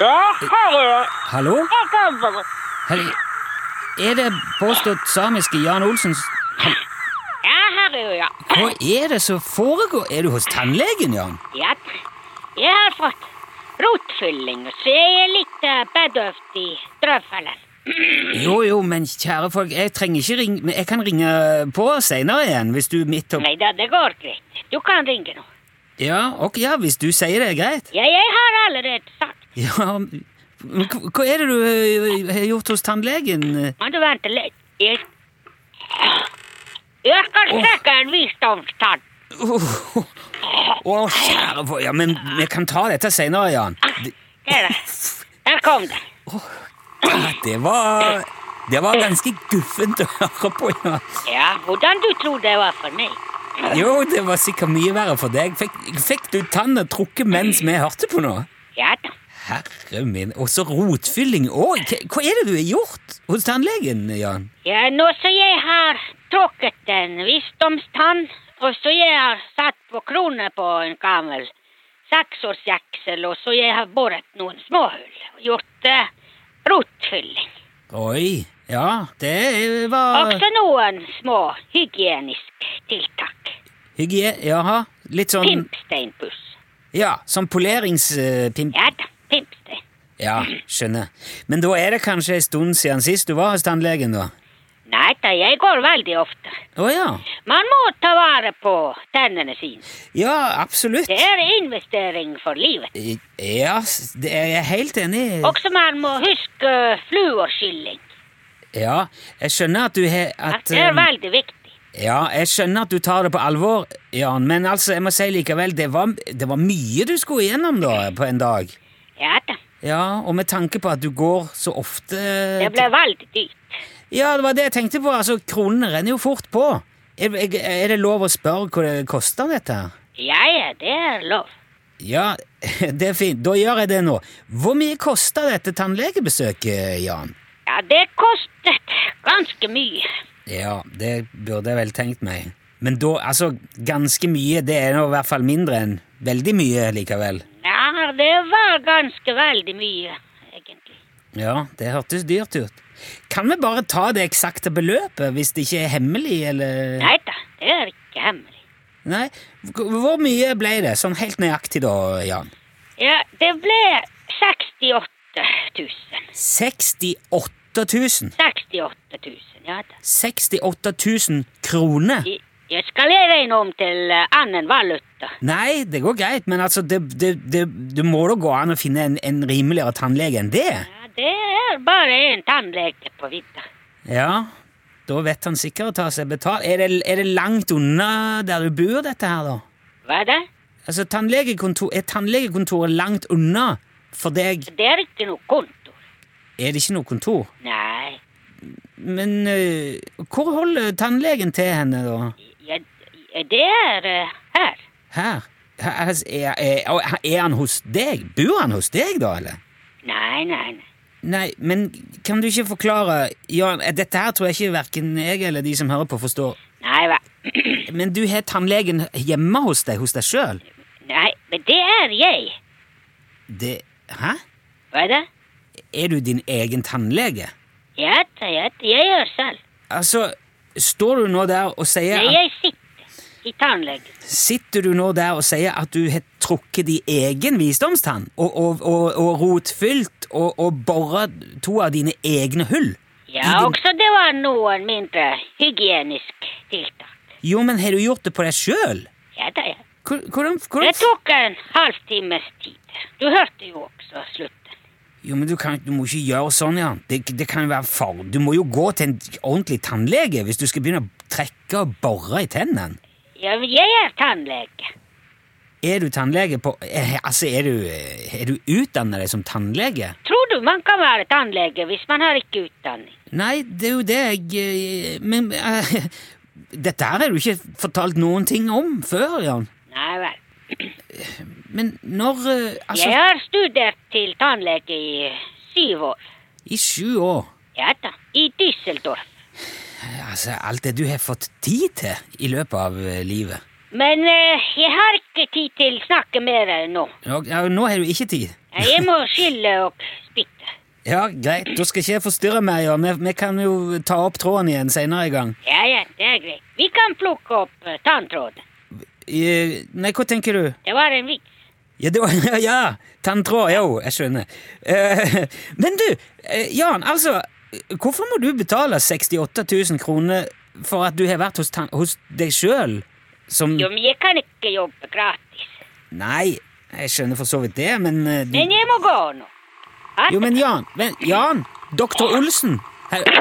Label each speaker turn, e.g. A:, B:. A: Ja, her er jeg.
B: Hallo?
A: Jeg kommer.
B: Hei. Er det påstått samiske Jan Olsens
A: Ja, her er jeg.
B: Hva er det som foregår? Er du hos tannlegen, Jan?
A: Ja, jeg har fått rotfylling, så jeg er litt eh, bedøvd i drøvfellen.
B: Jo, jo, men kjære folk, jeg trenger ikke ringe men Jeg kan ringe eh, på seinere igjen, hvis du er midt opp...
A: Nei da, det går greit. Du kan ringe nå.
B: Ja, ok, ja, hvis du sier det er greit.
A: Ja, jeg har allerede sagt.
B: Ja, men hva hva er det du eh, har gjort hos tannlegen?
A: Må du vente litt. Jeg, jeg skal søke en visdomstann.
B: Å, kjære folk, ja, men vi kan ta dette seinere, Jan. Det,
A: Der, der kom det.
B: ah, det var Det var ganske guffent å høre på, ja.
A: Ja, hvordan du tror det var for meg.
B: Jo, det var sikkert mye verre for deg. Fikk, fikk du tanna trukket mens vi hørte på nå?
A: Ja da.
B: Herre min, og så rotfylling òg! Hva, hva er det du har gjort hos tannlegen, Jan?
A: Ja, nå så jeg har tråkket en visdomstann, og så jeg har satt på krone på en gammel seksårsjaksel, og så jeg har boret noen småhull, gjort eh, rotfylling.
B: Oi, ja, det var
A: Også noen små hygieniske tiltak.
B: Hygie... Jaha, litt sånn
A: Pimpsteinpuss.
B: Ja, sånn poleringspimp...
A: Ja da, pimpstein.
B: Ja, skjønner. Men da er det kanskje en stund siden sist du var hos tannlegen, da?
A: Nei da, jeg går veldig ofte.
B: Å ja.
A: Man må ta vare på tennene sine.
B: Ja, absolutt.
A: Det er investering for livet.
B: I- Ja, s- det er jeg helt enig i.
A: Også man må huske fluorskylling.
B: Ja, jeg skjønner at du har
A: At
B: at
A: det er
B: um,
A: veldig viktig.
B: Ja, jeg skjønner at du tar det på alvor, Jan, men altså, jeg må si likevel, det var, det var mye du skulle igjennom da, på en dag.
A: Ja da.
B: Ja, og med tanke på at du går så ofte
A: Det ble veldig dyrt.
B: Ja, det var det jeg tenkte på. Altså, kronene renner jo fort på. Er, er- er det lov å spørre hva det koster, dette? her?
A: Ja, ja, det er lov.
B: Ja, det er fint. Da gjør jeg det nå. Hvor mye koster dette tannlegebesøket, Jan?
A: Ja, det kostet ganske mye.
B: Ja, det burde jeg vel tenkt meg. Men da, altså, ganske mye, det er nå i hvert fall mindre enn veldig mye likevel.
A: Ja, det var ganske veldig mye, egentlig.
B: Ja, det hørtes dyrt ut. Kan vi bare ta det eksakte beløpet, hvis det ikke er hemmelig, eller
A: Nei da, det er ikke hemmelig.
B: Nei. Hvor mye ble det, sånn helt nøyaktig da, Jan?
A: Ja, det ble 68 000.
B: 68 000.
A: 68 000, ja da.
B: 68 000 kroner.
A: Jeg- Jeg skal jeg regne om til eh, annen valuta.
B: Nei, det går greit, men altså, det, det, det, det må da gå an å finne en, en rimeligere tannlege enn det?
A: Ja, det er bare en tannlege på vidda.
B: Ja, da vet han sikkert å ta seg betalt. Er det, er det langt unna der du bor, dette her, da?
A: Hva da?
B: Altså, tannlegekontor, Er tannlegekontoret langt unna for deg?
A: Det er ikke noe kontor.
B: Er det ikke noe kontor?
A: Nei.
B: Men eh, hvor holder tannlegen til henne, da?
A: Ja, det er eh, her.
B: Her? Her- her- Er, er, er- er han hos deg? Bor han hos deg, da, eller?
A: Nei, nei, nei.
B: Nei, men kan du ikke forklare Jan, eh, Dette her tror jeg ikke verken jeg eller de som hører på, forstår.
A: Nei, hva?
B: Men du har tannlegen hjemme hos deg, hos deg sjøl?
A: Nei, men det er jeg.
B: Det Hæ?
A: Hva da?
B: Er du din egen tannlege?
A: Ja, da, ja, da, jeg gjør selv.
B: Altså, står du nå der og sier
A: Nei,
B: at,
A: jeg sitter i tannlegen.
B: Sitter du nå der og sier at du har trukket din egen visdomstann og, og, og, og rotfylt og, og bora to av dine egne hull?
A: Ja, også det var noen mindre hygienisk tiltak.
B: Jo, men har du gjort det på deg sjøl?
A: Ja da, ja.
B: Hvordan,
A: Det
B: hvordan
A: tok en halvtimes tid. Du hørte jo også slutten.
B: Jo, men du, kan, du må ikke gjøre sånn, Jan. Det, det kan være farlig. Du må jo gå til en ordentlig tannlege hvis du skal begynne å trekke og bore i tennene.
A: Ja, men jeg er tannlege.
B: Er du tannlege på eh, Altså, er du, eh, er du utdanna deg som tannlege?
A: Tror du man kan være tannlege hvis man har ikke utdanning?
B: Nei, det er jo det jeg eh, Men eh, Dette her har du ikke fortalt noen ting om før, Jan.
A: Nei vel.
B: Men når eh, Altså,
A: Jeg har studert til tannlege i syv år.
B: i sju år
A: Ja da, i Düsseldorf.
B: Altså, alt det du har fått tid til i løpet av eh, livet.
A: Men eh, jeg har ikke tid til å snakke mer nå.
B: Ja, ja, nå har du ikke tid.
A: Jeg må skylle opp spyttet.
B: Ja, greit. Da skal ikke jeg forstyrre mer. Ja. Vi, vi kan jo ta opp tråden igjen senere i gang.
A: Ja, ja, det er greit. Vi kan plukke opp eh, tanntråden.
B: Eh, Nei, hva tenker du?
A: Det var en vits.
B: Ja, det var, ja tanntråd. Jo, jeg skjønner. Eh, men du, eh, Jan, altså Hvorfor må du betale 68 000 kroner for at du har vært hos, tann- hos deg sjøl? Som
A: Jo, men jeg kan ikke jobbe gratis.
B: Nei, jeg skjønner for så vidt det, men eh, du,
A: Men jeg må gå nå. Ha
B: Jo,
A: det.
B: men Jan, men, Jan, doktor Olsen her,